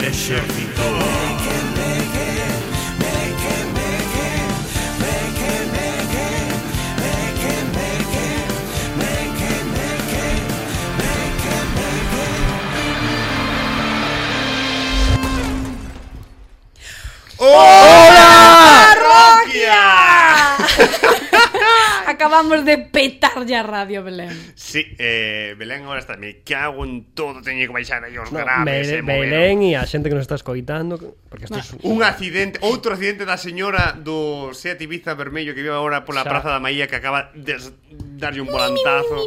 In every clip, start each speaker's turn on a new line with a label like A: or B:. A: ejército.
B: Acabamos de petar ya Radio Belén.
A: Sí, eh, Belén ahora está. Me cago en todo, teño que baixar aí os
C: No,
A: graves.
C: Be-
A: e
C: Belén e a xente que nos está escoitando Porque estes
A: Un accidente, outro accidente da señora do Seat Ibiza vermello que vive agora pola
C: Xa.
A: Praza da Maía que acaba de s- darlle un volantazo.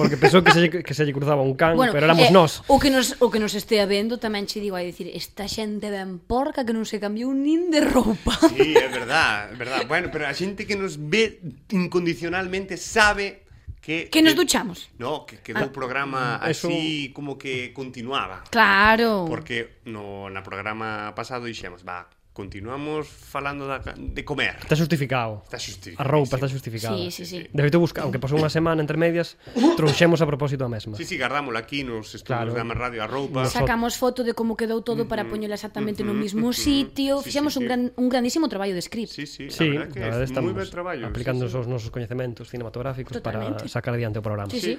C: Porque pensou que se, lle- que se lle cruzaba un can
B: Bueno,
C: Pero
B: eh,
C: éramos nós
B: O que nos o que nos estea vendo tamén che digo, hai dicir, esta xente ben porca que non se cambiou nin de roupa.
A: Sí, é verdad, é verdad. Bueno, pero a xente que nos ve incondicionalmente sabe que...
B: Que nos duchamos. Ah.
A: No, que quedou o programa
C: Mm, Eso-
A: así como que continuaba.
B: Claro.
A: Porque no na programa pasado dixemos, va, continuamos falando da, de comer.
C: Está justificado
A: Está xustificado.
C: A roupa está justificada
B: Sí, sí, sí.
C: De feito, busca, aunque pasou unha semana entre medias Trouxemos a propósito a mesma
A: Sí, sí, gardámola aquí nos estudios
C: Claro.
A: da Mar Radio a roupa.
B: Sacamos foto de como quedou todo para poñela exactamente no mismo sitio.
A: Mm-hmm. Sí, sí,
B: Fixemos un
A: sí.
B: gran un grandísimo traballo de script.
A: Sí, sí,
C: Sí,
A: la verdad que es moi ben traballo.
C: aplicando
A: sí, sí.
C: os nosos coñecementos cinematográficos
B: Totalmente.
C: para sacar adiante o programa.
B: Sí, sí.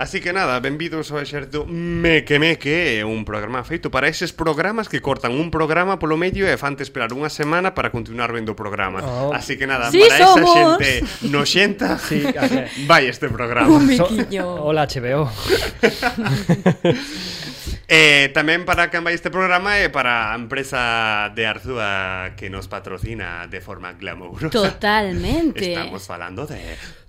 A: Así que nada, benvidos ao Exército Meque Meque, un programa feito para eses programas que cortan un programa polo medio e fan esperar unha semana para continuar vendo o programa.
C: Oh.
A: Así que nada,
B: Sí,
A: para esa
B: somos.
A: xente noxenta,
C: Sí, a ver.
A: vai este programa.
B: Mi
C: So-
B: quiño.
C: Hola HBO.
A: Eh, tamén para quen vai este programa é para a empresa de Arzúa que nos patrocina de forma glamourosa.
B: Totalmente.
A: Estamos falando de...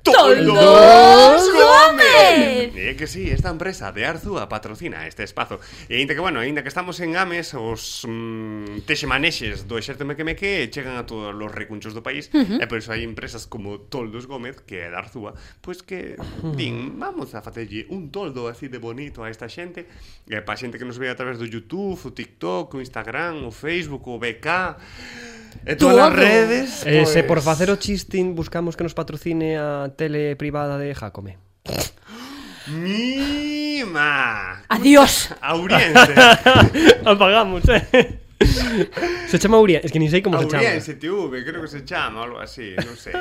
B: Toldos Gómez.
A: E é Eh, que sí, esta empresa de Arzúa patrocina este espazo E ainda que, bueno, ainda que estamos en Ames Os mm, texemanexes do exército mequemeque Chegan a todos os recunchos do país uh -huh. E por iso hai empresas como Toldos Gómez Que é de Arzúa Pois que din, vamos a facerlle un toldo así de bonito a esta xente E para xente que nos ve a través do Youtube O TikTok, o Instagram, o Facebook, o BK E todas as
B: Todo.
A: redes
C: Eh, se por
A: pois-
C: facer o chistín buscamos que nos patrocine a tele privada de Jacome. Ah.
A: Mima
B: Adiós.
A: Auriense
C: Apagamos, eh. Se chama Urián, es que nin sei como se chama.
A: Auriense TV, creo que se chama, algo así, non sei.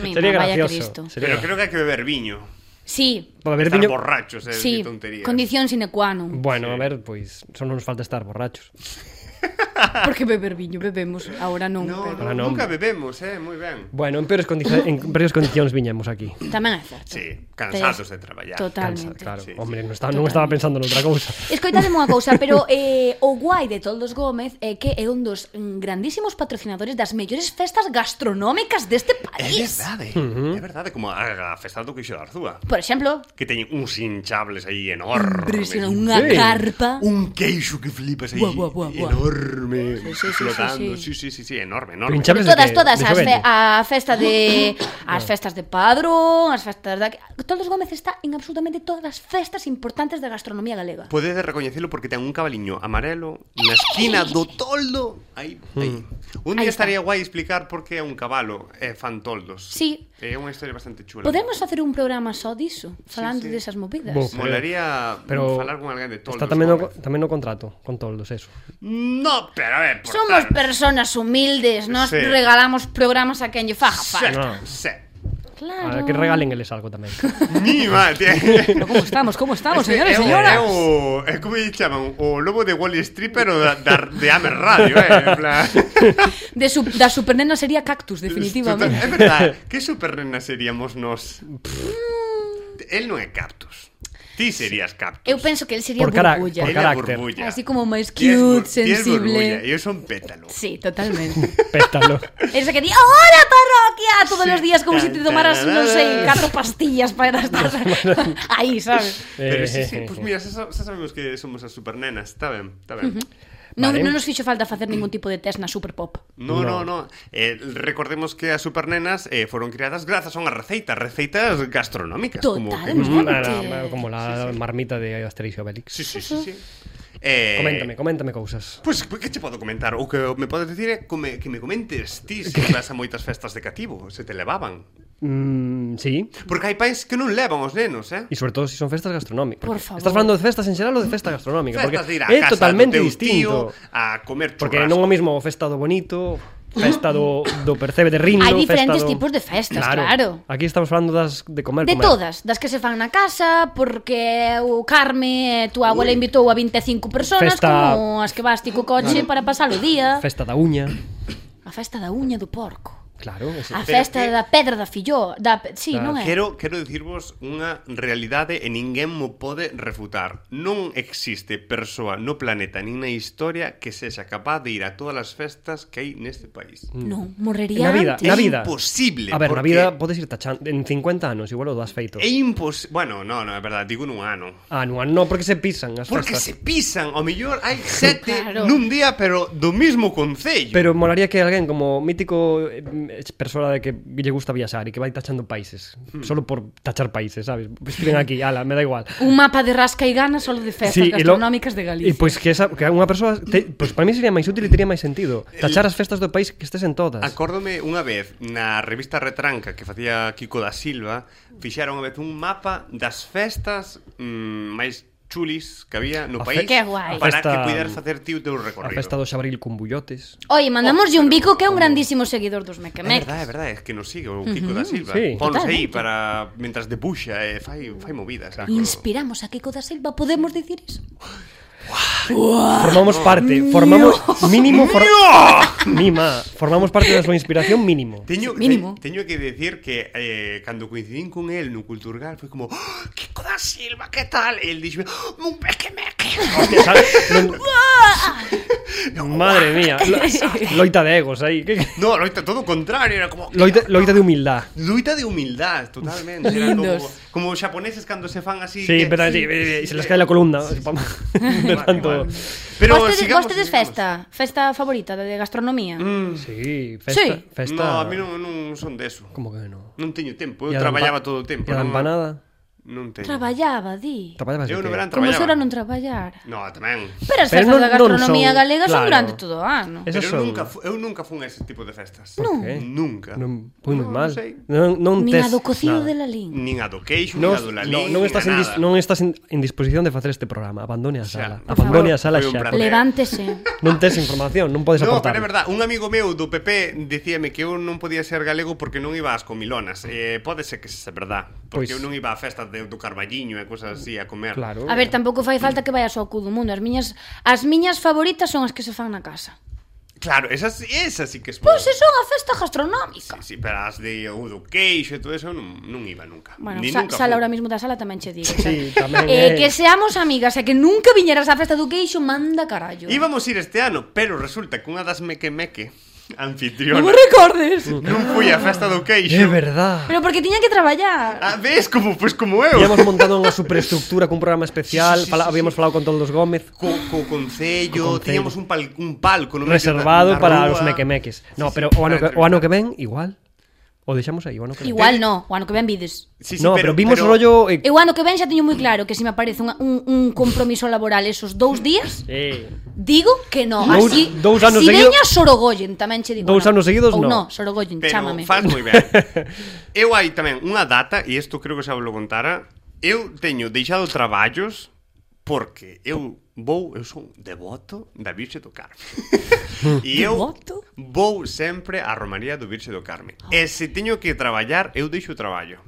B: Mi
C: Sería
B: mamá, vaya Cristo.
C: gracioso. Sería
A: Pero creo que hai que beber viño.
B: Sí.
C: Para ver
A: Estar
C: viño...
A: borrachos, é sí.
B: Sí,
A: tontería.
B: condición sine qua non.
A: Sí.
C: Bueno, a ver, pois pues, só non nos falta estar borrachos.
B: Porque beber viño bebemos, agora non.
A: No,
B: pero...
C: Para
A: no,
C: non-
A: nunca bebemos, eh, moi ben.
C: Bueno, en peores condicións en peores condicións viñemos aquí.
B: Tamén é certo.
A: Sí, cansados de traballar.
C: Cansa,
B: Totalmente.
C: claro.
A: Sí, sí.
C: Hombre, non estaba, non estaba pensando noutra cousa.
B: Escoitademe unha cousa, pero eh, o guai de Toldos Gómez é que é un dos mm, grandísimos patrocinadores das mellores festas gastronómicas deste
A: É
B: país.
A: verdade, é verdade, eh, como a, a festa do Quixo da Arzúa.
B: Por exemplo,
A: Que teñen uns hinchables aí enormes.
B: impresiona unha
C: Sí.
B: carpa.
A: Un queixo que flipas aí
B: Buah, buah, buah, buah.
A: enorme
B: Sí, sí, sí, sí,
A: flotando.
B: sí.
A: Sí, sí, sí, sí, enorme,
C: Pero
A: enorme.
C: hinchables de
B: todas,
C: que-
B: todas
C: de
B: as fe,
C: xoguete.
B: a festa de as festas de Padrón, as festas da Toldos Gómez está en absolutamente todas as festas importantes da gastronomía galega.
A: Podedes recoñecelo porque ten un cabaliño amarelo na esquina do toldo. Aí, aí. Un
B: Aí
A: día
B: Mm. está.
A: estaría guai explicar por que é un cabalo e fan toldos.
B: Sí.
A: É unha historia bastante chula.
B: Podemos facer un programa só diso, falando
A: sí.
B: desas movidas.
C: Bo,
A: Molaría pero...
C: Pero-
A: falar con alguén de toldos.
C: Está tamén no,
A: Gómez.
C: tamén no contrato con toldos, eso.
A: No, pero a ver, por
B: Somos
A: tal.
B: personas humildes, nos
A: Sí.
B: regalamos programas a quen lle faja
A: Sí,
B: falta.
C: No.
A: sí.
C: A
B: Claro.
C: ver, que regalen eles algo tamén.
A: Ni mal, tía.
B: Pero como estamos, como estamos,
A: Este é
B: señores,
A: o-
B: señoras.
A: É o, é como lle chaman, o lobo de Wall Street, pero da, da, de Amer Radio, eh, en plan.
B: De su, da supernena sería cactus, definitivamente. Mm.
A: É verdade. Que supernena seríamos nos? El non é Cactus. Ti serías Cactus.
B: Eu penso que el sería
C: Por cara-
B: burbulla.
C: por
A: Ele é
C: carácter.
A: burbulla.
B: Así como máis
A: Ti és bur-
B: cute,
A: ti és burbulla,
B: sensible.
A: Eu son pétalo.
B: Sí, totalmente.
C: Pétalo.
B: Esa que di, "Hola, parroquia", todos
A: Sí.
B: os días como se si te tomaras, non sei,
A: Tararara.
B: catro pastillas para estar aí, sabes?
A: Pero
C: Eh,
A: sí, sí,
C: eh,
A: pues
C: eh.
A: mira, xa, sa- xa sabemos que somos as supernenas, está ben, está ben.
B: Non,
C: Vale.
B: non nos fixo falta facer ningún tipo de test na Super Pop.
A: No, no, no. Eh, recordemos que as supernenas eh, foron criadas grazas a unha receita, receitas gastronómicas. Como que...
B: Totalmente.
C: Mm, era como la marmita de Asterix y Obelix.
A: Sí, sí, sí, sí. Eh,
C: Coméntame, coméntame cousas.
A: Pois pues, que che podo comentar? O que me podes dicir é come, que me comentes ti se vas a moitas festas de cativo, se te levaban.
C: Mm, sí.
A: Porque hai pais que non levan os nenos, eh?
C: E sobre todo se si son festas gastronómicas.
B: Por
C: Porque
B: favor.
C: Estás falando de festas en xeral ou de festa gastronómica?
A: Festas de
C: porque
A: ir a
C: é
A: casa
C: totalmente
A: do teu tío
C: distinto.
A: a comer churrasco.
C: Porque non é o mismo o festa do bonito, festa do, do percebe de rindo,
B: Hai
C: festa
B: diferentes
C: do...
B: tipos de festas, claro.
C: Aquí estamos falando das de comer,
B: De
C: comer.
B: todas, das que se fan na casa, porque o Carme, eh, tu abuela invitou a 25 personas,
C: Festa-
B: como as que vas ti co coche para pasar o día.
C: Festa da uña.
B: A festa da uña do porco.
C: Claro, ese.
B: A
A: Pero
B: festa
A: que-
B: da pedra da filló, da, pe- sí,
C: Claro.
B: non é?
A: Quero, quero dicirvos unha realidade e ninguén mo pode refutar. Non existe persoa no planeta nin na historia que sexa capaz de ir a todas as festas que hai neste país.
B: Non, morrería
C: Mm. Na vida,
B: antes.
C: na
A: É
C: vida.
A: imposible,
C: A ver, na
A: porque-
C: vida podes ir tachando en 50 anos, igual o das feito.
A: É impos... Bueno, no, no, é verdade, digo nun ano.
C: Ah, non, non, porque se pisan as
A: Porque se
C: festas.
A: pisan, ao mellor hai sete
B: Claro.
A: nun día, pero do mismo concello.
C: Pero molaría que alguén como mítico eh, persona de que lle gusta viaxar e que vai tachando países,
A: Hmm.
C: solo por tachar países, sabes? Escriben aquí, ala, me da igual.
B: Un mapa de rasca e gana solo de festas
C: Sí, e lo-
B: gastronómicas de
C: E
B: Galicia.
C: pois que esa que unha persoa, te, pois para mí sería máis útil e tería máis sentido tachar as festas do país que estes en todas.
A: Acórdome unha vez na revista Retranca que facía Kiko da Silva, fixaron unha vez un mapa das festas mm, máis chulis que había no
C: A
A: país
C: fe-
B: Que guai.
A: para
C: A festa-
A: que puderas facer ti o teu
C: A
A: recorrido.
C: festa do Xabril con bullotes.
B: Oye,
A: Oh,
B: mandamoslle un bico que é un grandísimo seguidor dos
A: É
B: Mequemeques.
A: verdade, é verdade, é que nos sigue o Kiko da Silva.
C: sí.
A: Ponos aí
B: Totalmente.
A: para mentras debuxa e fai fai movidas. eh, saco.
B: Inspiramos a Kiko da Silva, podemos dicir iso? Ah,
C: Formamos parte, formamos mínimo for... mima, formamos parte da súa inspiración mínimo.
A: Teño,
B: Mínimo.
A: te- teño que decir que eh, cando coincidín con él no Culturgal foi como "Ah, Kiko da Silva, que tal? E el dixme, un que me
C: Hostia, ¿sabes? Non- Madre mía, lo- loita de egos aí. Que...
A: No, loita todo o contrario, era como
C: Loita, loita de humildad.
A: Luita de humildad, totalmente. Era
B: Lindos.
A: como, como os xaponeses cando se fan así.
C: Sí,
A: que-
C: pero sí, eh, eh, se les cae la columna. De
A: Igual,
C: tanto.
A: igual. Pero
B: vostedes,
A: sigamos,
B: vostedes
A: sigamos. Mm.
B: festa, festa favorita de gastronomía.
C: Sí, festa,
B: Sí.
C: festa.
A: No, a mí non, non son deso.
C: Como que no?
A: Non teño tempo, eu
C: E a da
A: traballaba
C: empa-
A: todo o tempo.
C: E a da
A: non-
C: empanada?
A: Non teño.
B: Traballaba, di.
C: Traballabas de
A: Eu no
C: que?
A: verán
B: Como se
A: traballaba.
B: ora non traballar.
A: No, tamén.
B: Pero as festas
C: Pero non-
B: da
C: non son-
B: gastronomía galega son
C: claro.
B: durante todo o ano.
C: Esas
A: Pero eu
C: son-
A: nunca, fu- eu nunca fun a ese tipo de festas.
C: Por que?
A: Nunca.
C: Non, pois moi
A: Non, non
C: mal.
A: sei.
C: Non, non
B: Nin
C: tes
B: a do cocido
C: nada.
B: de la lín.
A: Nin a do queixo, nin
C: Non,
A: a do
C: non,
A: lalín,
C: non
A: nin a
C: estás en, dis,
A: nada.
C: non estás en, en disposición de facer este programa. Abandone a sala.
A: Xa, por
C: Abandone a
A: favor.
C: sala
A: Foi un
C: xa.
A: placer. Le-
B: Levántese.
C: Non tes información, non podes
A: No,
C: aportar.
A: pero é verdade, un amigo meu do PP dicíame que eu non podía ser galego porque non iba ás comilonas. Eh, pode ser que se verdad, porque
C: Pois-
A: eu non iba a festas de, do Carballiño e cosas así a comer.
C: Claro.
B: A ver, tampouco fai falta que vayas ao cu do mundo. As miñas, as miñas favoritas son as que se fan na casa.
A: Claro, esas, esas sí que es
B: Pois se son a festa gastronómica.
A: Sí, sí, pero as de ou do queixo e todo eso non, non iba nunca.
B: Bueno,
A: Ni
B: sa,
A: nunca fun.
B: sala ahora mismo da sala tamén che digo.
C: Sí, tamén,
B: eh,
C: eh.
B: que seamos amigas e que nunca viñeras á festa do queixo, manda carallo.
A: Íbamos ir este ano, pero resulta que unha das meque-meque
B: Non me
A: anfitriona
B: recordes.
A: non foi a festa do queixo.
C: É verdade.
B: Pero porque tiña que
C: Eh.
B: traballar.
A: A ves como, pois como eu.
C: Habíamos montado unha superestructura cun programa
A: Sí, sí,
C: especial,
A: sí, sí,
C: fala, habíamos
A: sí.
C: falado con todos os Gómez.
A: Co, co
C: Co
A: concello,
C: concello.
A: teñamos un, pal, un palco no medio da- da
C: reservado para
A: rúa.
C: os mequemeques. No,
A: Sí, sí,
C: pero o ano
A: para
C: que, o ano que
A: entrevistar.
C: ven igual o deixamos aí o ano que ven.
B: Igual no, o ano que ven vides.
A: Sí, sí,
C: no, pero, vimos o rollo eh,
B: Eu ano que ven xa teño moi claro que se me aparece unha, un, un compromiso laboral esos dous días,
C: eh,
B: digo que no.
C: Dous-
B: Así,
C: dous anos
B: si
C: seguido-
B: veña Sorogollen, tamén che digo.
C: Dous
B: no.
C: anos seguidos,
B: Ou
C: no.
B: no, Sorogollen,
A: Pero
B: chámame.
A: faz moi ben. Eu hai tamén unha data, e isto creo que xa vos lo contara, eu teño deixado traballos porque eu vou, eu son devoto da Virxe do Carme. e eu
B: Devoto?
A: vou sempre á Romaría do Virxe do Carme. E se teño que traballar, eu deixo o traballo.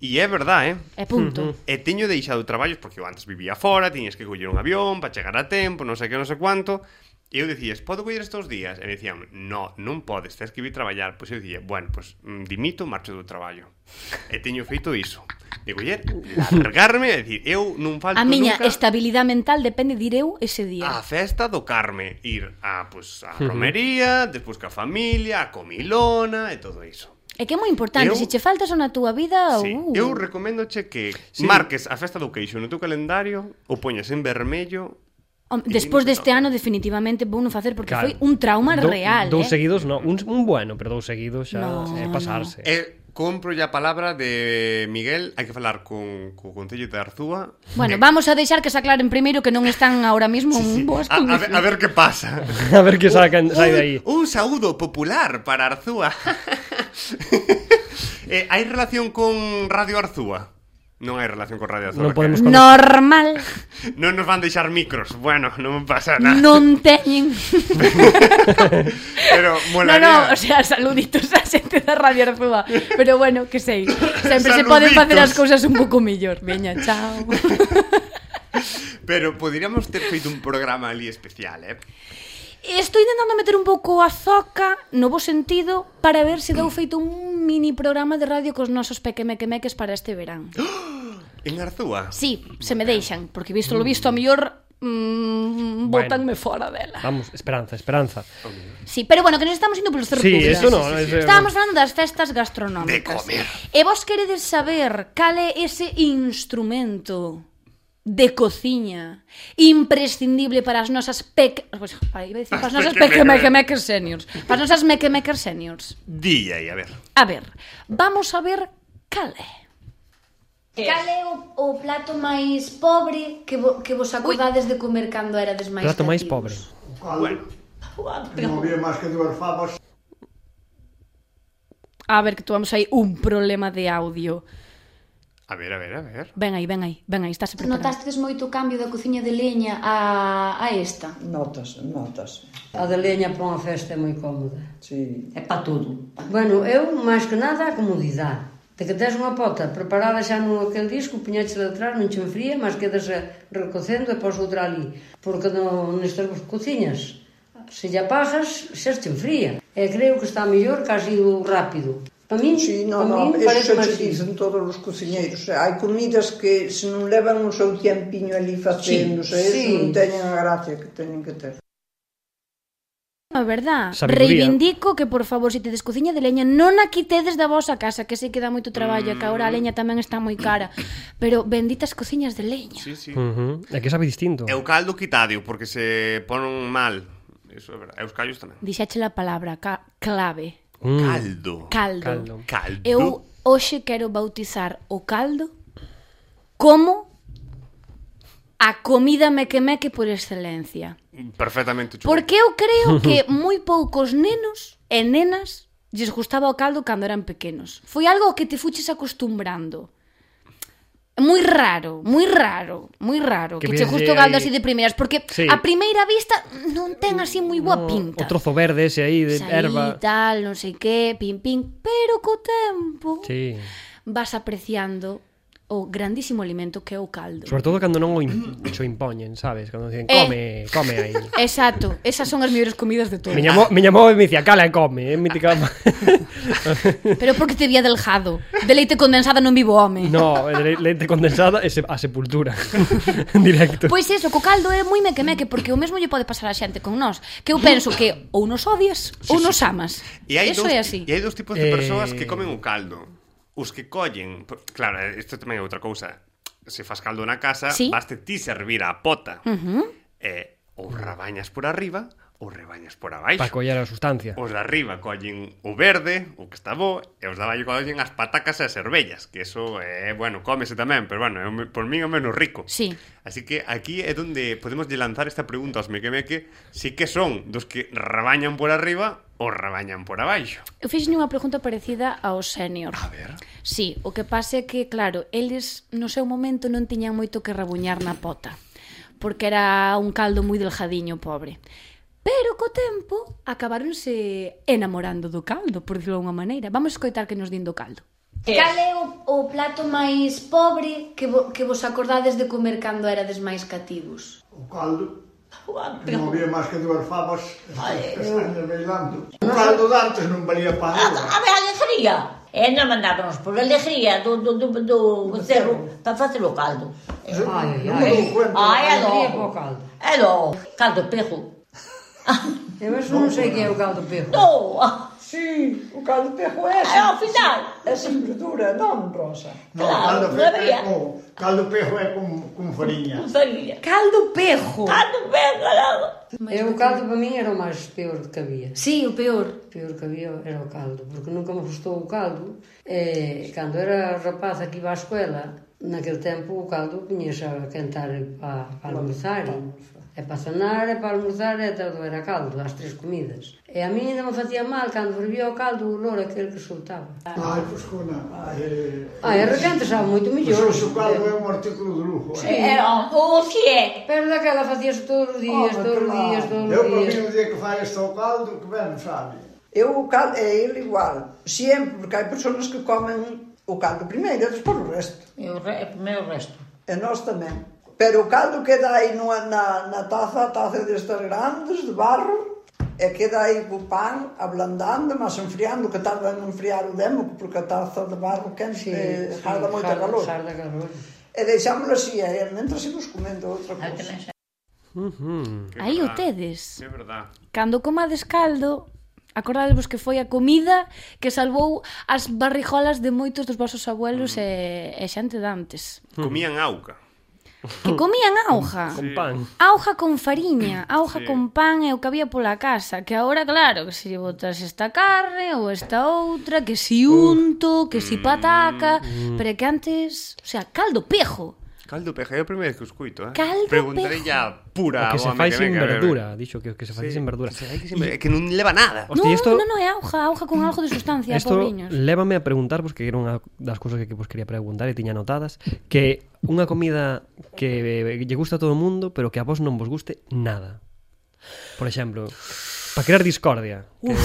A: E é verdade, eh?
B: E punto.
A: E teño deixado traballos porque eu antes vivía fora, tiñes que coller un avión para chegar a tempo, non sei que, non sei cuánto. E eu dicías, podo coller estes días? E me dicían, no, non podes, tens que vir traballar. Pois eu dicía, bueno, pois mm, dimito, marcho do traballo. E teño feito iso. De coller, largarme e dicir, eu non falto
B: A miña
A: nunca Ah.
B: estabilidade mental depende de ir eu
A: a
B: ese día.
A: festa do Carme. Ir a, pues, a romería, despois ca familia, a comilona e todo iso.
B: É que é moi importante,
A: Eu-
B: se che faltas na túa vida,
A: Sí.
B: uh,
A: Eu recomendoche que sí. marques a festa do queixo no teu calendario, o poñas en vermello
B: hom, despois deste ano definitivamente vou non facer porque foi un trauma
C: dou-
B: real, eh.
C: Dous seguidos, no, un, un bueno, pero dous seguidos xa
B: No,
C: é pasarse.
A: E compro ya a palabra de Miguel, hai que falar con co Concello de Arzúa.
B: Bueno, vamos a deixar que se aclaren primeiro que non están ahora mismo en boas
A: A, a, ver, a
B: condicións.
A: ver que pasa.
C: A ver
A: Eh.
C: que sacan sai de aí.
A: Un, un saúdo popular para Arzúa. Eh, hai relación con Radio Arzúa? Non hai relación con Radio Arzúa.
C: Non podemos
A: que-
B: Normal.
A: Non nos van deixar micros. Bueno, non pasa nada.
B: Non teñen.
A: Pero
B: No,
A: molaría.
B: no, o sea, saluditos a xente da Radio Arzúa. Pero bueno, que sei. Sempre se poden
A: Saluditos.
B: facer as cousas un pouco mellor. Veña, chao.
A: Pero poderíamos ter feito un programa ali especial, eh?
B: Estou intentando meter un pouco a zoca no bo sentido para ver se dou feito un mini programa de radio cos nosos pequemequemeques para este verán.
A: En Arzúa.
B: Sí, se me deixan, porque visto lo visto a mellor mmm,
C: Bueno.
B: botanme fora dela.
C: Vamos, esperanza, esperanza.
B: Sí, pero bueno, que nos estamos indo polos cerros
C: Sí,
B: públicos.
C: eso no. eso-
B: Estábamos falando das festas gastronómicas.
A: De comer.
B: E vos queredes saber cal é ese instrumento de cociña imprescindible para as nosas pec... Pues, para, iba a decir, para as nosas pequemequemeques seniors. Para as nosas mequemeques seniors.
A: Di aí, a ver.
B: A ver, vamos a ver cal é.
D: Cal é o, o plato máis pobre que, vo, que vos acordades de comer cando érades máis
C: Plato máis
D: cativos?
A: Bueno,
C: pobre.
E: Tá No había más que dos fabas.
B: A ver, que tuvamos aí un problema de audio.
A: a ver, a ver, a ver.
B: Ven aí, ven aí, ven aí, estás preparado.
D: Notastes moito o cambio da cociña de leña a, a esta?
F: Notas, notas.
G: A de leña para unha festa é moi cómoda.
F: Sí.
G: É para tudo. Bueno, eu, máis que nada, a comodidade. De que tes unha pota preparada xa no aquel disco, puñáchela atrás, non che enfría, mas quedas eh, recocendo e pos outra ali. Porque no, nestas cociñas, se lle apagas, xa te enfría. E creo que está mellor casi o rápido. Para min,
F: Sí, no,
G: pa min
F: no,
G: parece
F: eso xa
G: máis
F: te dicen todos os cociñeiros. Hai comidas que se non levan o seu tiempiño ali facéndose,
G: Sí,
F: sí,
G: sí.
F: sí. non teñen a gracia que teñen que ter.
B: A verdad, Ah,
C: Sabiduría.
B: reivindico que por favor, se tedes cociña de leña, non a quitedes da vosa casa, que sei que dá moito traballo, e que agora a leña tamén está moi cara. Pero benditas cociñas de leña.
A: Sí, sí.
C: Ujú, É que sabe distinto.
A: E o caldo quitadio, porque se ponen mal. Eso é verdade. E os callos tamén.
B: Dixache a palabra ca clave,
A: Caldo.
B: caldo.
C: Caldo.
A: Caldo.
B: Eu hoxe quero bautizar o caldo como a comida mequemeque por excelencia.
A: Perfectamente chulo.
B: Porque eu creo que moi poucos nenos e nenas lles gustaba o caldo cando eran pequenos. Foi algo ao que te fuches acostumbrando. Moi raro, moi raro, moi raro que, que
C: Que
B: che
C: ves
B: guste o
C: aí-
B: caldo así de primeiras, porque sí.
C: Sí.
B: a primeira vista non ten así moi boa
C: No,
B: pinta.
C: O trozo verde ese aí de
B: Saí,
C: erva.
B: tal, non sei que, pim pim, pero co tempo
C: Sí.
B: vas apreciando o grandísimo alimento que é o caldo.
C: Sobre todo cando non o im- xo impoñen, sabes? Cando dicen,
B: Eh.
C: come, come aí.
B: Exacto, esas son as mellores comidas de todo.
C: Miña, mo, miña move me dicía, cala e come, é mítica...
B: Pero porque te vi adelgado. De leite condensada non vivo home.
C: no, le- leite condensada e se, a sepultura. en directo.
B: Pois eso, co caldo é moi mequemeque Porque o mesmo lle pode pasar a xente con nós Que eu penso que ou nos odias ou nos amas
A: E hai
B: Eso
A: dous,
B: é así
A: E hai dous tipos de
C: Eh,
A: persoas que comen o caldo. Os que collen, por- claro, isto tamén é outra cousa. Se fas caldo na casa,
B: Sí.
A: baste ti servir a pota. Uh -huh. E ou rabañas por arriba ou rebañas por abaixo.
C: Para coller a sustancia.
A: Os de arriba collen o verde, o que está bo, e os de abaixo collen as patacas e as cervellas, que eso, é, bueno, cómese tamén, pero bueno, é o me- por min é o menos rico.
B: Sí.
A: Así que aquí é donde podemos lle lanzar esta pregunta aos mequemeque, si que son dos que rabañan por arriba ou rabañan por abaixo.
B: Eu fixen unha pregunta parecida ao senior A ver Sí, o que pase é que, claro, eles no seu momento non tiñan moito que rabuñar na pota Porque era un caldo moi delgadiño pobre Pero co tempo acabaronse enamorando do caldo, por dicirlo de unha maneira Vamos escoitar que nos din do caldo
D: Cal é o, o plato máis pobre que, vo, que vos acordades de comer cando érades máis cativos?
E: O caldo. No había más que dos fabas.
H: é
E: Están bailando. O caldo de antes non valía para
H: A
E: nada.
H: ver, a alegría. E non mandábamos por alegría é do, do, do, do cerro para facer o caldo.
F: É?
G: Ai,
E: Non me
G: ai,
E: dou cuenta.
H: Ai, é
G: alegría
H: logo.
G: para o caldo.
H: É logo. Caldo pejo.
G: Eu eso non sei que é o caldo pejo.
H: No,
F: Sí, o caldo pejo é,
H: é ao final.
F: é sin verdura, non, Rosa.
E: No,
H: Claro,
E: Ah, caldo
H: non
E: pejo é
H: había.
E: con, caldo pejo é con, con farinha.
H: Non sabía.
G: Caldo pejo.
H: Caldo pejo, logo.
G: E o caldo para min era o máis peor que había.
D: Sí, o peor.
G: peor que había era o caldo, porque nunca me gustou o caldo. E cando era rapaz aquí iba á escola, naquel tempo o caldo viñese a cantar para pa almorzar. e- É para cenar, é para almorzar, é todo era caldo, as tres comidas. E a mí ainda me facía mal cando fervía o caldo o olor aquel que soltaba.
E: Ai, pois cona. eh,
G: Ah, e repente sabe moito
E: Pois
G: mellor.
E: o xocado é un artículo de lujo. eh.
H: É, ó, o que é?
G: Pero daquela facías todos os días, todos os días, todos
E: Eu, para
G: os
E: mí,
G: días.
E: o um dia que faz este ao caldo, que ben, sabe?
F: Eu o caldo é ele igual, sempre, porque hai persoas que comen o caldo primeiro e despois o resto.
H: Eu, re- é primeiro o resto.
F: E nós tamén. Pero o caldo queda aí numa, na, na taza, taza destas grandes, de barro, e queda aí co pan ablandando, mas enfriando, que tarda en enfriar o demo, porque a taza de barro quente sí,
G: Eh,
F: sí, jarda moito calor.
G: Jarda calor.
F: E deixámoslo así, e mentre seguimos comendo outra
H: Eu
F: cousa.
H: também sei.
B: Aí o tedes.
A: É verdade.
B: Cando comades caldo, acordadevos que foi a comida que salvou as barrijolas de moitos dos vosos abuelos e, e xente dantes.
C: Hmm.
A: Comían auca.
B: Que comían auja.
C: Con pan.
B: Auja con fariña, auja
A: Sí.
B: con pan e o que había pola casa, que agora claro, que se lle botas esta carne ou esta outra, que si unto, que
C: Mm.
B: si pataca, pero é que antes, o sea, caldo pejo.
A: Caldo peja, é o primeiro que o escuito, eh?
B: Caldo
A: Preguntarei
B: pejo.
A: ya pura
C: O que se
A: ao home
C: fai
A: que
C: sin
A: venga, a ver.
C: verdura, dixo que o que se fai sin verdura.
A: Será que, se me- que non leva nada.
C: Hostia,
B: non,
C: isto-
B: non, non, é auja, auja con algo de sustancia,
C: Esto
B: pobriños.
C: lévame a preguntar, porque era unha das cousas que vos quería preguntar e tiña anotadas, que unha comida que lle gusta a todo o mundo, pero que a vos non vos guste nada. Por exemplo, para crear discordia. Que,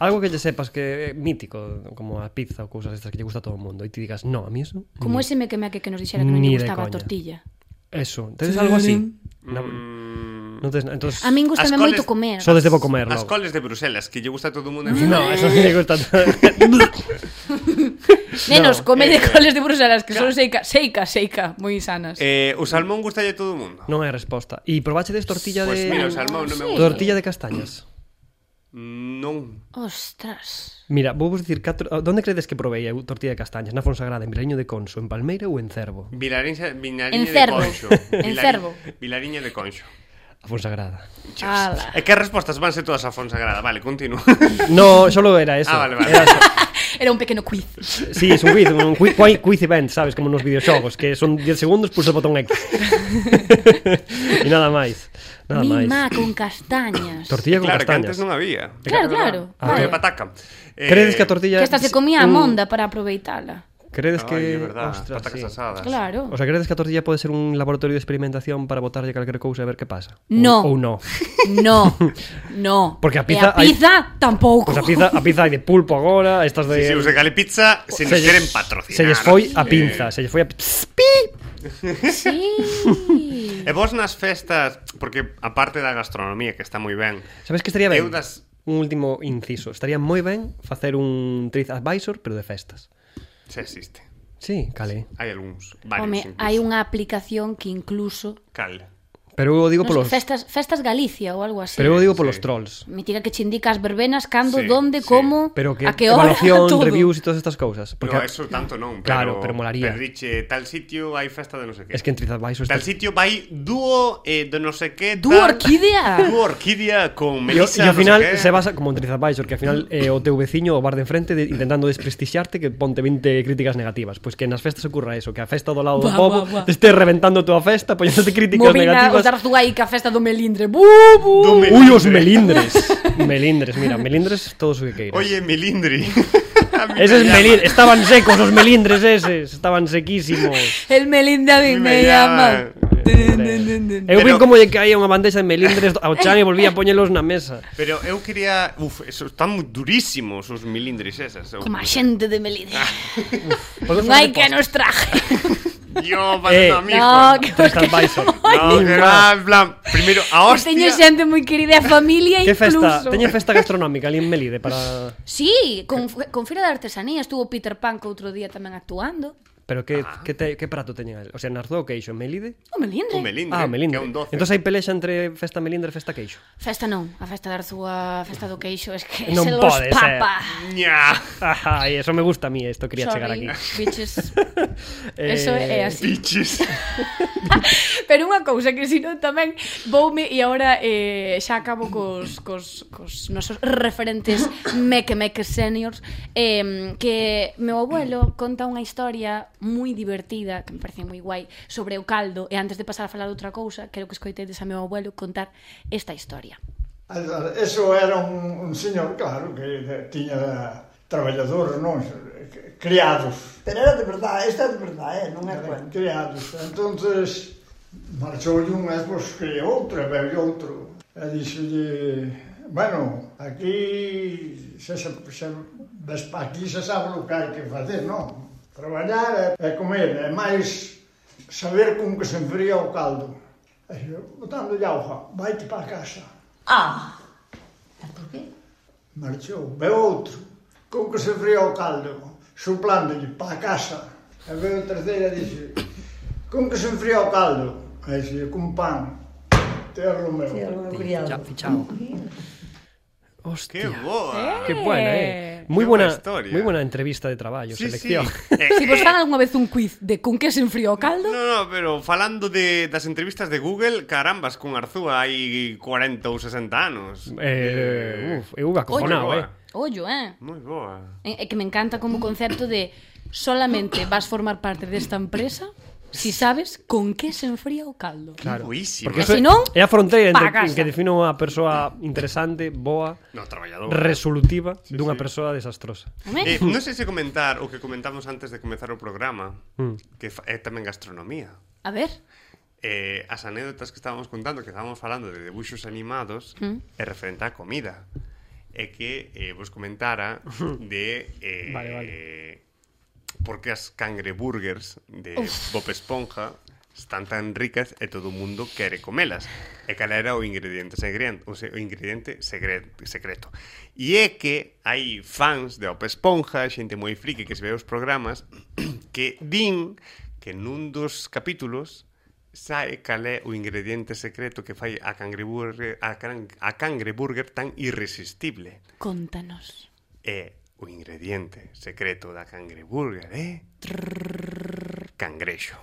C: algo que lle sepas que é mítico, como a pizza ou cousas estas que lle gusta a todo o mundo, e ti digas, no, a mí eso...
B: Como
C: ni-
B: ese mequemeque que nos dixera que non
C: Mm. Ni
B: lle
C: de
B: gustaba a
C: coña.
B: tortilla.
C: Eso, tedes algo así? Na... Non tedes, na- entonces,
B: A min gustame
A: As coles-
B: moito comer.
C: só desde bo comer
A: As
C: logo.
A: coles de Bruselas, que lle gusta a todo o mundo.
C: No, eso me gusta todo.
B: Nenos,
C: No, eh,
B: come de coles de Bruselas, que solo seica, seica, seica, moi sanas.
A: eh, o salmón gusta a todo o mundo.
C: non é a resposta. E probachedes tortilla
A: Pois
C: de...
A: mira, o salmón non me
B: Sí.
A: gusta. Mm,
C: Tortilla de castañas.
A: Non.
B: Ostras.
C: Mira, vou vos dicir catro... Onde credes que provei eu tortilla de castañas? Na Fonsagrada, en Vilareño de Conso, en Palmeira ou en Cervo?
A: Vilariña,
B: En
A: vilariña de
B: cervo.
A: conxo.
B: En
A: Vilari-
B: cervo.
A: Vilariña de conxo.
C: A Fonsagrada.
B: Ala.
A: E que as respostas vanse todas a Fonsagrada. Vale, continúa.
C: No, solo era eso.
A: Ah, vale, vale.
C: Era eso.
B: Era un pequeno quiz.
C: Sí, es un quiz, un quiz, quiz, quiz event, sabes, como nos videoxogos, que son 10 segundos, pulsa o botón X. e nada máis. Nada
B: Mi
C: máis.
B: má con castañas.
C: Tortilla con
A: claro, que
C: castañas. Ah.
A: antes non había.
B: Claro, claro.
A: Non había
B: Vale.
A: pataca. Eh,
C: Credes que a tortilla...
B: Que hasta se comía a
C: un-
B: monda para aproveitala.
C: Credes que...
A: Ai, é verdad,
C: Ostras,
A: patacas
C: sí.
A: asadas.
B: Claro.
C: O sea, credes que a tortilla pode ser un laboratorio de experimentación para botarlle calquer cousa e ver que pasa?
B: No.
C: Ou, ou no.
B: No, no.
C: Porque a
B: E
C: pizza
B: a
C: hai-
B: pizza tampouco.
C: Pois Pues a pizza, a pizza hai de pulpo agora, estas de...
A: Si se usa cale pizza, se nos
C: lles-
A: queren patrocinar. Eh,
C: Eh, Se lles foi a pinza, se lles foi a...
B: Sí.
A: E vos nas festas, porque aparte da gastronomía, que está moi ben,
C: Sabes que estaría ben?
A: Eu das-
C: Un último inciso. Estaría moi ben facer un trip advisor, pero de festas.
A: se existe.
C: Sí, cale.
A: Hai algúns, varios
B: Home,
A: incluso.
B: hai unha aplicación que incluso...
A: Cal.
C: Pero eu o digo
B: Non
C: polos...
B: sei, festas, festas Galicia ou algo así.
C: Pero eu o digo
A: sí.
C: polos trolls.
B: Mentira que che indica as verbenas cando,
A: Sí,
B: donde,
A: sí.
B: como,
C: Pero que
B: a que hora,
C: evaluación,
B: todo.
C: reviews e todas estas cousas.
A: Porque no,
C: Porque
A: eso tanto non,
C: Claro,
A: pero,
C: pero molaría.
A: Pero diche, tal sitio hai festa de non sei que.
C: es que en TripAdvisor
A: Tal
C: está...
A: sitio vai dúo eh, de non sei que
B: Dúo
A: tal-
B: orquídea.
A: Dúo orquídea con
C: E o-
A: Melissa
C: e
A: non
C: ao
A: sei
C: final
A: que.
C: se basa como en TripAdvisor que ao final é o teu veciño o bar de enfrente de, intentando desprestixiarte que ponte 20 críticas negativas pois que nas festas ocurra eso que a festa do lado do
B: Buah,
C: povo
B: buah, buah.
C: te esté reventando a tua festa poñéndote críticas
B: Movina,
C: negativas
B: os Arzugay que a festa do Melindre. Bu, bu.
A: Do Melindre.
C: Ui, os melindres Melindres, mira, melindres todos o que queiras
A: Oye, Melindri.
C: Eses melindres, estaban secos os melindres eses Estaban sequísimos
B: El Melinde a mí
A: Me
B: me
A: llama.
B: llama.
C: Eu vin
A: Pero-
C: como lle caía unha bandeja de melindres ao chan e volvía a poñelos na mesa
A: Pero eu quería, uf, eso están moi durísimos os melindres esas. Eu-
B: Como a xente de Melinde.
A: Ah,
C: Podemos
B: Non hai
C: facer
B: que nos traje.
A: Yo,
C: Eh,
A: para no, amigo.
B: No, que
C: TripAdvisor
A: No, que va, en plan, primero, a hostia.
B: teño xente moi querida e familia
C: Que
B: incluso.
C: festa, teñen festa gastronómica ali en Melide para
B: Sí, con, con Feira de Artesanía estuvo Peter Pan que outro día tamén actuando.
C: Pero que, ah. que, te, que prato teñen ali? O sea, Narzó queixo, en Melide?
B: O Melindre.
A: Un melindre, que
C: ah,
A: é
C: Melinde.
A: un doce.
C: Entón hai pelexa entre festa Melindre e festa queixo.
B: Festa non, a festa da Arzúa, a festa do Queixo, es que
C: Non
B: se los
C: pode ser.
B: papa.
A: Ña.
C: Ajá, e eso me gusta a mí, isto quería chegar Eh,
B: Sorry,
A: Eh,
C: aquí.
B: eh, bitches. Eso é así.
A: Biches.
B: Pero unha cousa que si non tamén voume e agora eh, xa acabo cos, cos, cos nosos referentes meque meque seniors eh, que meu abuelo conta unha historia moi divertida que me parece moi guai sobre o caldo e antes de pasar a falar de outra cousa quero que escoitedes a meu abuelo contar esta historia
E: Eso era un, un señor, claro, que de- tiña traballadores, non? Criados.
F: Pero era de verdade, esta é de verdade, eh? non é cuento.
E: Criados. Entonces, marchoulle un e pois que outro, e veu outro. E dixolle, bueno, aquí se, se, se, des, aquí se sabe o que hai que facer, non? Traballar e, e comer, e máis saber como que se enfría o caldo. E dixo, botando auga, vaite para casa.
H: Ah, por qué?
E: Marchou, veu outro, con que se fría o caldo, suplándolle para casa. E veu o terceiro e dixe, con que se fría o caldo? E dixe, con pan, terro meu.
F: Era o meu criado.
C: Ficha- Fichao. Hostia.
A: ¡Qué boa!
C: Qué buena, eh.
A: Qué
C: Muy
A: buena
C: buena,
A: historia.
C: muy buena entrevista de traballo,
A: Sí, sí.
C: selección.
A: Eh,
B: Se vos fan algunha vez un quiz de con que se enfrió o caldo
A: No, no, pero falando de das entrevistas de Google, carambas, con Arzúa hai 40 ou 60 anos.
C: Eh, uf, eu acojonado,
A: Oye,
C: eh.
B: ollo, eh
A: Moi boa.
B: É que me encanta como concepto de solamente vas formar parte desta empresa si sabes con que se enfría o caldo.
A: Claro. Boísima.
C: Porque
B: Porque
C: eso
B: se
C: é-
B: non,
C: é a fronteira
B: pa
C: entre
B: casa.
C: que define unha persoa interesante, boa,
A: No, traballador.
C: resolutiva dunha persoa desastrosa.
B: Amén?
A: Eh, non sei se comentar o que comentamos antes de comezar o programa, mm. que fa- é tamén gastronomía.
B: A ver,
A: Eh, as anécdotas que estábamos contando, que estábamos falando de debuxos animados, mm. é referente á comida. É que eh, vos comentara de... Eh,
C: Vale, vale.
A: Porque as cangreburgers de Bob Esponja están tan ricas e todo o mundo quere comelas. E cal era o ingrediente segredo, o, se, o ingrediente segre- secreto. E é que hai fans de Bob Esponja, xente moi friki que se ve os programas, que din que nun dos capítulos sae cal é o ingrediente secreto que fai a cangreburger, a, can, a cangreburger tan irresistible.
B: contanos.
A: É o ingrediente secreto da cangreburger, é... Cangrexo.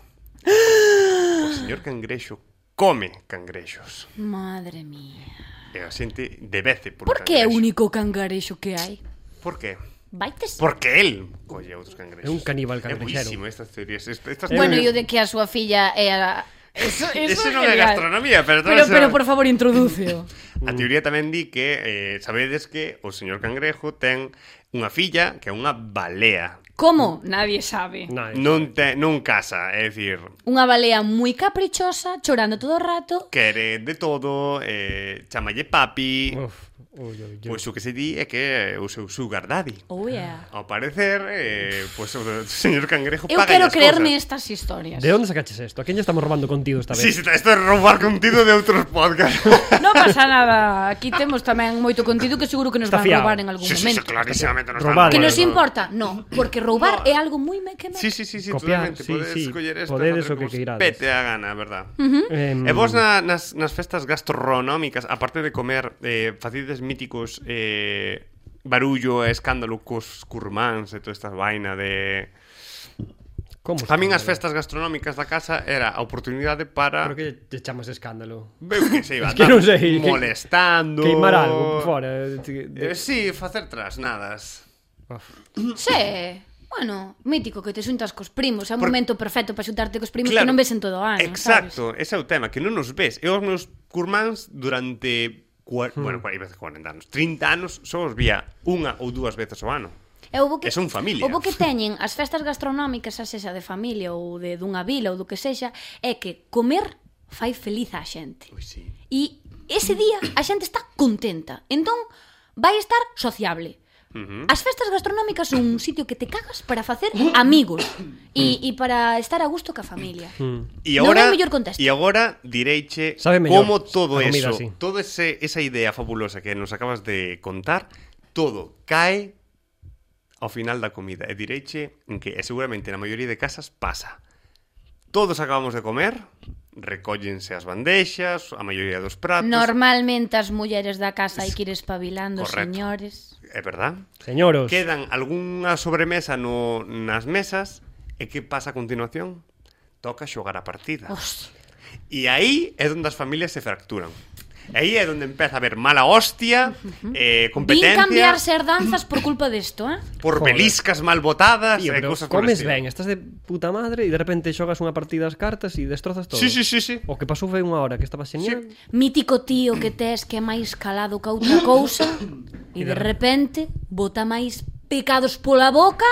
A: O señor cangrexo come cangrexos.
B: Madre mía.
A: E a xente debece por
B: Por que é o
A: cangrexo.
B: único cangarexo que hai?
A: Por que?
B: Vaites?
A: Porque él colle outros cangrexos.
C: É un caníbal
A: É
C: cangrexero.
A: buísimo estas teorías. Est- Estas
B: Bueno, e o de que a súa filla é a... Eso,
A: Eso
B: eso,
A: non é
B: genial.
A: gastronomía, pero eh. todo
B: Pero,
A: eso-
B: pero por favor, introduceo.
A: A teoría tamén di que eh, sabedes que o señor cangrejo ten unha filla que é unha balea.
B: Como? Nadie sabe.
C: Nai.
A: Non, te, non casa, é dicir,
B: Unha balea moi caprichosa, chorando todo o rato.
A: quere de todo, eh, chamalle papi...
C: Uf, ui, ui, ui.
A: Pois o que se di é que é o seu sugar daddy.
B: Oh, yeah.
A: Ao parecer, eh, pois o señor cangrejo
B: Eu
A: paga as
B: quero creerme
A: cousas.
B: estas historias.
C: De onde sacaches isto? A quen lle estamos robando contido esta
A: Sí, sí,
C: vez?
A: isto é roubar contido de outros podcasts.
B: Non pasa nada, aquí temos tamén moito contido que seguro que nos
C: Está
B: van
C: fiado.
B: roubar en algún
A: sí, sí, sí,
B: momento.
A: clarísimamente nos
C: Robado.
B: Que
A: dan-
B: nos importa? No, porque
A: No.
B: roubar é algo moi meque meque.
A: Sí, sí, sí, sí,
C: Copiar,
A: totalmente.
C: sí,
A: podedes
C: sí,
A: coller esto,
C: podedes
A: facer
C: o que
A: como vos
C: queirades.
A: Pete a gana, verdad.
B: Mm.
C: Em,
A: E vos na, nas, nas festas gastronómicas, aparte de comer, eh, facides míticos eh, barullo e escándalo cos curmáns e toda esta vaina de...
C: como
A: A min as
C: escándalo?
A: festas gastronómicas da casa era a oportunidade para...
C: Pero que lle chamas de escándalo?
A: Eu que sei,
C: que non sei, que-
A: molestando...
C: Queimar algo fora. eh, ti-
A: Eh,
C: de-
A: sí, facer trasnadas.
C: Uf.
B: Sí, bueno, mítico que te xuntas cos primos, é un
A: Por-
B: momento perfecto para xuntarte cos primos que non ves en todo o ano,
A: Exacto, sabes? ese é o tema, que non nos ves. Eu os meus curmáns durante... Cua... Hmm. Bueno, hai veces 40 anos. 30 anos só os vía unha ou dúas veces ao ano.
B: sabes? E houbo que
A: E son familia.
B: Houbo que teñen as festas gastronómicas, a sexa de familia ou de dunha vila ou do que sexa, é que comer fai feliz á xente.
A: Pois sí.
B: E ese día a xente está contenta. Entón, vai estar sociable. Uh -huh. As festas gastronómicas son un sitio que te cagas para facer amigos e, e para estar a gusto ca familia.
A: E
B: Non
A: agora,
B: é o mellor contexto.
A: E agora direiche
C: Sabe mellor
A: como todo
C: a comida
A: eso,
C: así.
A: todo ese esa idea fabulosa que nos acabas de contar, todo cae ao final da comida. E direiche en que e seguramente na maioría de casas pasa. Todos acabamos de comer, recóllense as bandeixas, a maioría dos pratos.
B: Normalmente as mulleres da casa hai que ir espabilando,
A: Correcto.
B: señores.
A: É verdad?
C: Señoros,
A: Quedan algunha sobremesa no, nas mesas e que pasa a continuación? Toca xogar a partida.
B: Hostia.
A: E aí é onde as familias se fracturan. Aí é onde empeza a haber mala hostia, eh,
B: Vin
A: competencia,
B: cambiar ser danzas por culpa desto, eh?
A: por
C: Joder.
A: peliscas mal botadas
C: Tío,
A: e
C: pero
A: cosas por el
C: comes
A: estilo.
C: ben, estás de puta madre e de repente xogas unha partida ás cartas e destrozas todo.
A: Sí, sí, sí, sí.
C: O que pasou foi unha hora que estaba xenial. Sí.
B: Mítico tío que tes que é máis calado que outra cousa e de repente bota máis pecados pola boca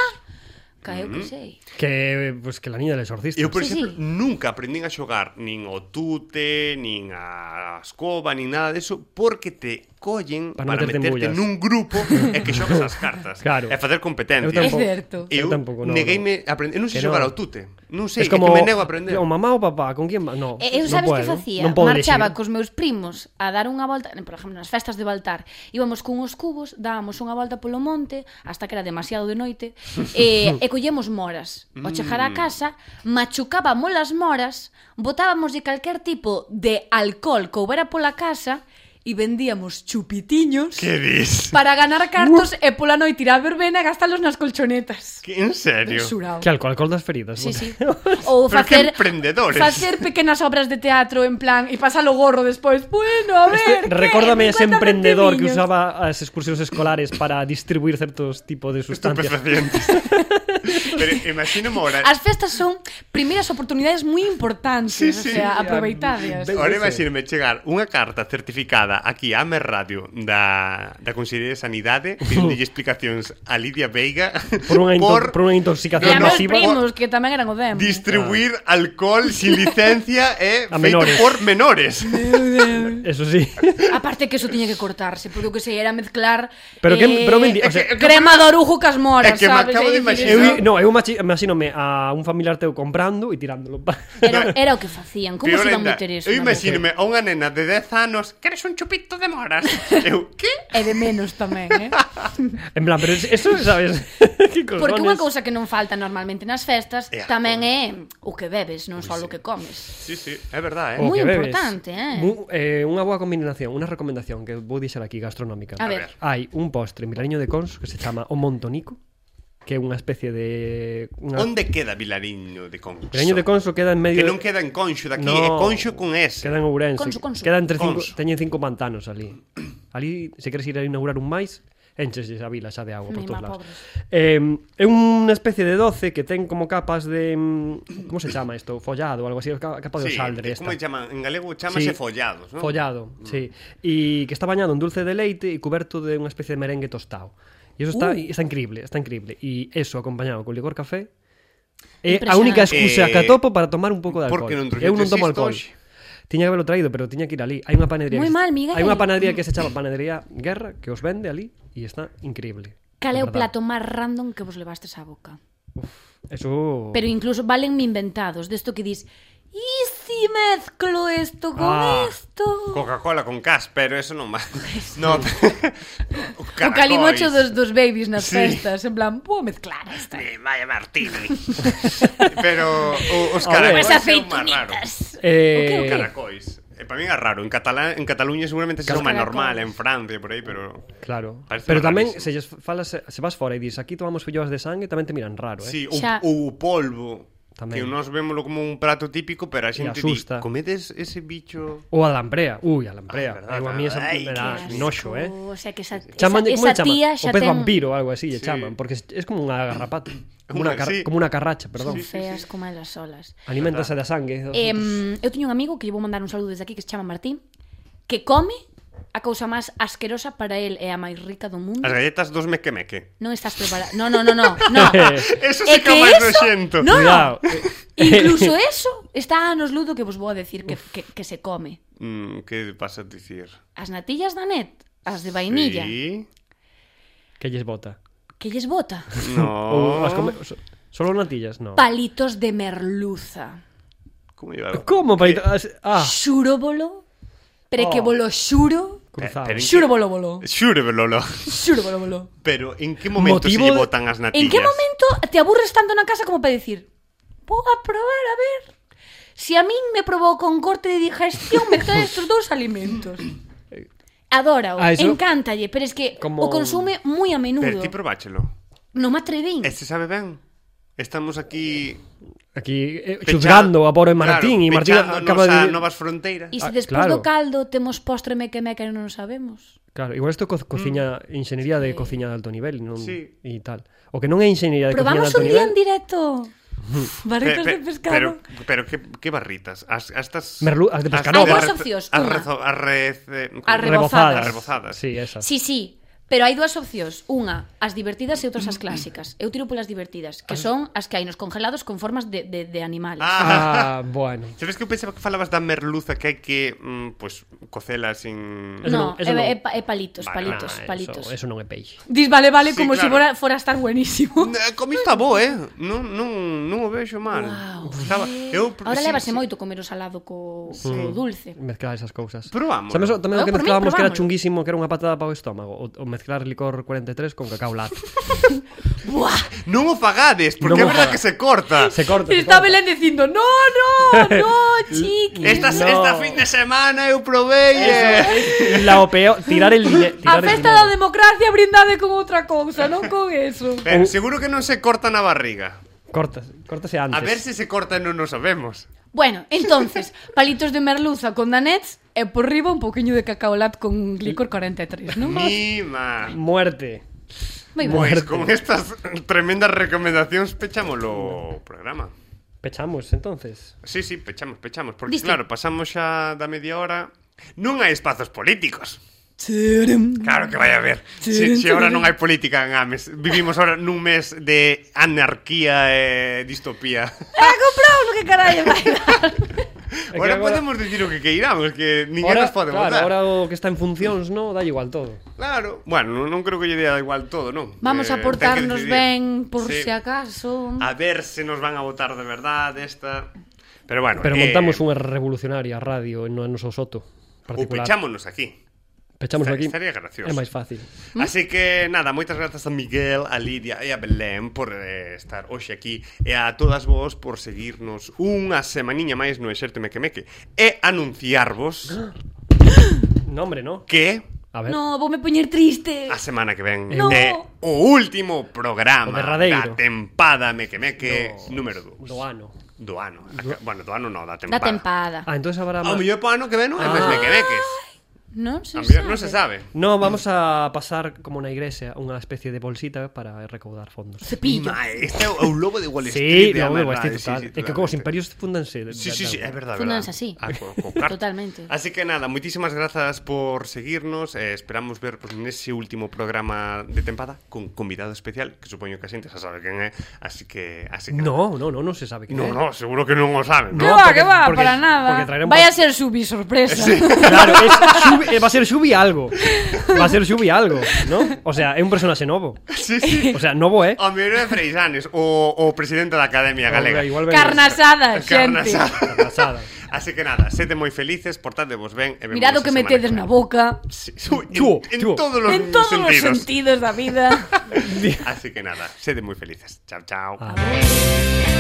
B: caeu
A: Mm.
B: que sei.
C: Que, pues, que la niña del exorcista.
A: Eu, por
B: Sí,
A: exemplo,
B: sí.
A: nunca aprendín a xogar nin o tute, nin a escoba, nin nada deso, porque te collen
C: Para non
A: para,
C: meterte en
A: meterte
C: bullas.
A: nun grupo e que xogas as cartas.
C: Claro.
A: E facer competencia.
C: Eu tampouco-
B: É certo.
A: Eu,
C: Eu tampouco, no,
A: negueime a aprender. Eu non sei
C: Que no.
A: xogar ao tute. Non sei, é que me nego a aprender.
C: O mamá ou papá, con quién va? No,
B: E Eh, eu
C: non
B: sabes
C: podo,
B: que facía?
C: Non podo
B: Marchaba
C: elegir.
B: cos meus primos a dar unha volta, por exemplo, nas festas de Baltar, íbamos con os cubos, dábamos unha volta polo monte hasta que era demasiado de noite, e, e collemos moras. O chegar
C: Mm.
B: a casa, machucábamos as moras, botábamos de calquer tipo de alcohol que houbera pola casa e vendíamos chupitiños
A: Que dis?
B: para ganar cartos e pola noite ir á verbena e gastalos nas colchonetas.
A: Que, en serio?
B: Surao.
C: Que alcohol, alcohol das feridas.
B: Sí,
C: puta.
B: sí. Ou
A: Pero que
B: facer
A: emprendedores.
B: facer pequenas obras de teatro en plan e pasalo gorro despois. Bueno, a ver.
C: Este,
B: ¿qué?
C: recórdame ese
B: 50
C: emprendedor que
B: centiños.
C: usaba as excursións escolares para distribuir certos tipos de sustancias.
A: Estupefacientes. Pero imagino ahora...
B: As festas son primeiras oportunidades moi importantes,
A: Sí, sí.
B: sí, sí, o sea, aproveitades.
C: Ve-
A: Ahora
C: ese.
A: imagíname chegar unha carta certificada aquí a Amer Radio da, da Consellería de Sanidade pidéndolle explicacións a Lidia Veiga
C: Por unha, into por... unha
B: E
C: intoxicación
B: a
A: No, no,
B: meus
A: sí,
C: nociva.
B: primos que tamén eran o demo.
A: distribuir alcohol sin licencia e feito
C: A menores.
A: por menores.
C: Eso sí.
B: Aparte que eso tiña que cortarse, porque o que sei era mezclar
C: Pero que-
B: eh,
C: pero mendi- o
B: eh,
C: sea-
B: crema de orujo cas
A: É
B: moras,
A: que me
B: sabes?
A: acabo de
B: É
A: imaginar-
B: dicir, eso
C: Eu, no, eu machi- imagínome a un familiar teu comprando e tirándolo. pa-
B: Era, era o que facían, como
A: Peor
B: se iban
A: ainda,
B: meter eso?
A: Eu
B: na boca?
A: imagínome a unha nena de 10 anos Queres un chupito de moras? Eu, que?
B: E de menos tamén, eh?
C: En plan, pero es- eso, sabes? que
B: Porque unha
C: cojones.
B: cousa que non falta normalmente nas festas
A: É a
B: tamén é o que bebes,
C: Pois
B: non só
A: sí.
B: o que comes.
A: Sí, sí, é verdad, eh?
C: O
B: Moi
C: que Oh, bebes.
B: importante, eh.
C: Mu- eh, unha boa combinación, unha recomendación que vou dixer aquí gastronómica.
B: A ver.
C: Hai un postre milariño de Cons que se chama o Montonico, que é unha especie de unha...
A: Onde queda Vilariño de Conxo?
C: Milariño de Conso queda en medio
A: Que non
C: de-
A: queda en Conxo daqui,
C: No.
A: é Conxo con S
C: Queda en Ourense.
B: Conso, Conso.
C: Queda entre cinco,
A: Conso.
C: teñen cinco pantanos ali. Ali, se queres ir a inaugurar un máis, enches a vila xa de agua
B: Ni
C: por todos
B: má
C: lados.
B: pobres.
C: Eh, é unha especie de doce que ten como capas de... mm, Como se chama isto? Follado, algo así, ca- capa de
A: Sí,
C: osaldre.
A: que
C: esta.
A: como Mm. chaman, en galego chamase
C: Sí.
A: follados, non?
C: Follado, sí. E que está bañado en dulce de leite e cuberto de unha especie de merengue tostado. E eso está,
B: Uy.
C: está increíble, está increíble. E eso acompañado con licor café é a
B: Impresionante.
C: única excusa
A: Eh,
C: que atopo para tomar un pouco de alcohol.
A: porque non
C: Eu non
A: trajiste
C: tomo alcohol.
A: isto hoxe?
C: Tiña que haberlo traído, pero tiña que ir ali. Hai unha panadería.
B: Moi
C: que se-
B: mal, Miguel.
C: Hai unha panadería que se chama Panadería Guerra que os vende ali e está increíble.
B: Cal é o
C: De verdad.
B: plato máis random que vos levastes á boca?
C: Eso
B: Pero incluso valen inventados, desto que dis, "E si mezclo isto con
C: Ah,
B: isto?"
A: Coca-Cola con cas, pero eso non va. No.
B: O calimocho dos, dos babies nas
A: Sí.
B: festas, en plan, vou mezclar esta.
A: Eh, Vaya Martini. pero o, os
C: A
A: caracois é o
B: As
C: ver.
A: máis raro.
B: aceitunitas.
A: Os
C: eh
A: Caracois. Eh, para min é raro. En Catalá, en Cataluña seguramente será o
B: Os
A: máis
B: caracois.
A: normal, en Francia por aí, pero
C: Claro.
A: Parece
C: pero tamén
A: rarísimo.
C: se lles falas se vas fora e dis, aquí tomamos filloas de sangue, tamén te miran raro, eh.
A: Sí, o,
B: Xa.
A: o polvo. Que
C: Tamén.
A: nós vémolo como un prato típico, pero a xente di,
C: asusta.
A: comedes ese bicho...
C: Ou a lamprea. Ui, a
A: Ah,
C: lamprea.
A: verdad,
C: Ah, a mí esa
A: ai, que
C: me da
A: asco.
C: noxo, eh.
B: O sea, que esa,
C: Chaman,
B: esa, esa tía
C: O
B: xa
C: pez
B: ten...
C: vampiro ou algo así, lle
A: Sí.
C: chaman, porque es, es como unha garrapata, como
A: Una-
C: unha, car
A: sí.
C: como unha carracha, perdón.
B: Son feas como as olas.
C: Aliméntase da sangue.
B: Eh, eu teño un amigo que lle vou mandar un saludo desde aquí que se chama Martín, que come a cousa máis asquerosa para el é a máis rica do mundo.
A: As galletas dos mequemeque.
B: Non estás preparado. No, no, no, no. no.
A: Eso sí que é o máis noxento.
B: ¿Eh, No,
C: Cuidado.
B: no. Incluso eso está a nos ludo que vos vou a decir que, que, que se come.
A: Mm, que vas a dicir?
B: As natillas da net, as de vainilla,
A: Sí.
B: sí.
C: que lles bota.
B: que lles bota.
A: No.
C: Ou as come... so- Solo natillas, no.
B: Palitos de merluza.
A: Como llevaba?
C: Como palito? Ah,
B: Xúrobolo, pero que
C: Oh. Eh.
B: volo xuro.
C: cruzado.
A: pero-
B: Xuro bolo bolo.
A: Xure, Lolo.
B: Xuro bolo bolo.
A: Pero en que momento
C: Motivo
A: se lle
C: de-
A: botan as natillas?
B: ¿En qué momento te aburres tanto na casa como para decir vou a probar a ver si a min me provoca un corte de digestión mezclar estos dous alimentos? Adórao,
C: Eh, Ah, eso-
B: encántalle, pero es que
C: Como-
B: o consume moi a menudo.
A: Pero ti probáchelo.
B: Non me atrevín.
A: E se sabe ben? Estamos aquí
C: Aquí eh,
A: pecha-
C: xuzgando a Boro e Martín
A: claro,
C: e Martín
A: pechándonos
C: acaba
A: a
C: de
A: novas fronteiras.
B: E se
C: Ah,
B: despois
C: claro.
B: do caldo temos postre mequemeca e non o sabemos.
C: Claro, igual isto é co cociña enxeñería de cociña de alto nivel, non
A: Sí.
C: e tal. O que non é enxeñería de
B: Probamos
C: cociña de
B: un
C: alto
B: día
C: nivel.
B: en directo. Barritas
A: Pe-
B: de
A: pe-
B: pescado.
A: Pero, pero ¿qué, qué barritas? As, as estas...
C: Merlu- as de pescado.
B: Hai dúas
A: arre-
B: opcións,
A: as
B: unha.
A: rezo- as rez- eh, como-
B: Arrebozadas.
A: As rebozadas.
C: Sí, esa.
B: Sí, sí, pero hai dúas opcións, unha as divertidas e outras as clásicas. Eu tiro polas divertidas, que son as que hai nos congelados con formas de, de, de animales.
A: Ah,
C: Ah, bueno.
A: Sabes que eu pensaba que falabas da merluza que hai que, mm, pues, cocela sin...
C: eso
B: no,
C: non- eso
B: é,
C: non.
B: é, pa- é palitos,
A: Vale,
B: palitos,
C: Ah,
B: palitos.
C: Eso, eso non é peixe.
B: Dis, vale, vale,
A: Sí,
B: como se
A: claro.
B: fora, fora a estar buenísimo.
A: Eh, Comí está bo, eh? Non, non, non o vexo mal.
B: Guau.
A: Estaba... Eu...
B: Eh, Ahora
A: sí,
B: levase
A: sí.
B: moito comer o salado co, co dulce.
C: Mezclar esas cousas.
A: Probámolo.
C: Sabes o- tamén o
B: No,
C: que
B: por mí,
C: mezclábamos que era
B: probámolo.
C: chunguísimo, que era unha patada para o estómago, o, o mezclar licor 43 con cacao lat.
B: Buah!
A: Non o fagades, porque é
C: Non o
A: verdade
C: faga-
A: que se corta.
C: se corta. se
B: Está
C: corta.
B: Belén dicindo, no, no, no, chiqui.
A: Esta,
C: No.
A: esta fin de semana eu provei eh.
C: La o peor, tirar el dinero.
B: A festa da democracia brindade con outra cousa, non con eso.
A: Ben, seguro que non se corta na barriga.
C: Cortas, cortase antes.
A: A ver se se corta non o sabemos.
B: Bueno, entonces, palitos de merluza con danets e por riba un pouquiño de cacaolat con licor 43, non?
A: Mima.
C: Muerte.
B: Moi ben.
A: Pois con estas tremendas recomendacións pechámolo o programa.
C: Pechamos, entonces.
A: Sí, sí, pechamos, pechamos, porque
B: Diste.
A: claro, pasamos xa da media hora. Non hai espazos políticos.
B: Eh,
A: Claro que vai a haber. Se si, ahora non hai política en Ames, vivimos ahora nun mes de anarquía e distopía.
B: Ah, compramos que carallo vai dar.
A: Ahora
C: agora-
A: podemos dicir o que queiramos, que niña nos pode
C: claro,
A: votar.
C: ahora o que está en funcións, no, da igual todo.
A: Claro. Bueno, non- non creo que lle dea igual todo, non?
B: Vamos
A: Eh,
B: a
A: ten que
B: portarnos
A: decidir.
B: ben por
A: Sí.
B: se acaso.
A: A ver se nos van a votar de verdade esta. Pero bueno,
C: Pero
A: eh,
C: montamos unha revolucionaria radio no noso soto
A: Ou
C: particular.
A: pechámonos aquí.
C: Pechamos
A: Esta-
C: aquí.
A: estaría Uh, gracioso.
C: É máis fácil.
A: Así que nada, moitas grazas a Miguel, a Lidia e a Belén por eh, estar hoxe aquí e a todas vos por seguirnos unha semaniña máis no Exerte Mequemeque e anunciarvos
C: No, hombre, no.
A: que
C: A ver.
B: No, vou me poñer triste.
A: a semana que ven
B: No.
A: é o último programa
C: O
A: da
C: derradeiro.
A: tempada Mequemeque
C: Dos.
A: número 2
C: Do ano.
A: do ano. Aca- Bueno, do ano non, da
B: Da
A: tempada.
B: tempada.
C: Ah, entonces habrá
A: Ao
C: más.
A: mellor para o ano que ven non é máis
C: Ah.
A: Mequemeques.
B: Non
A: A
B: se sabe.
A: mellor non se sabe.
C: No, vamos a pasar como na igrexa unha especie de bolsita para recaudar fondos.
B: Cepillo.
A: Ma, Este é o lobo de Wall
C: Sí,
A: Street. é a
C: no, me
A: verdade,
C: gusta total.
A: sí, sí,
C: é que como os
A: totalmente.
C: imperios fundanse.
A: Sí, sí, sí, é verdade.
B: Fúndanse
A: verdade.
B: así.
A: Ah, co- co cartas.
B: Totalmente.
A: Así que nada, moitísimas grazas por seguirnos eh, Esperamos ver pues, nese último programa de tempada Con convidado especial Que supoño que a xente xa sabe quen é Así que... Así que
C: No, no, no, non se sabe que
A: No, no, seguro que non o saben
B: Que
A: ¿no?
C: No,
B: va, que
C: porque-
B: va,
C: porque-
B: para
C: porque
B: nada.
C: traerán
B: Vaya a
C: por-
B: ser subi sorpresa.
C: Claro, es Xubi- eh, va a ser Xubi algo. Va a ser Xubi algo, ¿no? O sea, é un personaxe novo.
A: Sí, sí
C: O sea, novo, eh?
A: O mellor é Freixanes O, o presidente da Academia Galega
C: Hombre, igual ven-
B: Carnasada,
A: Carne
B: xente.
A: asada.
C: Carne asada.
A: Así que nada, sete moi felices Portadevos ben e vemonos a
B: Mirado que me
A: semana
B: tedes
A: que
B: na
A: ven.
B: boca.
A: sí, su-
C: Chuo,
A: en, en
C: chuo.
A: todos los
B: En todos os
A: sentidos
B: sentidos da vida.
A: Así que nada, sed muy felices. Chao, chao.
C: Ah.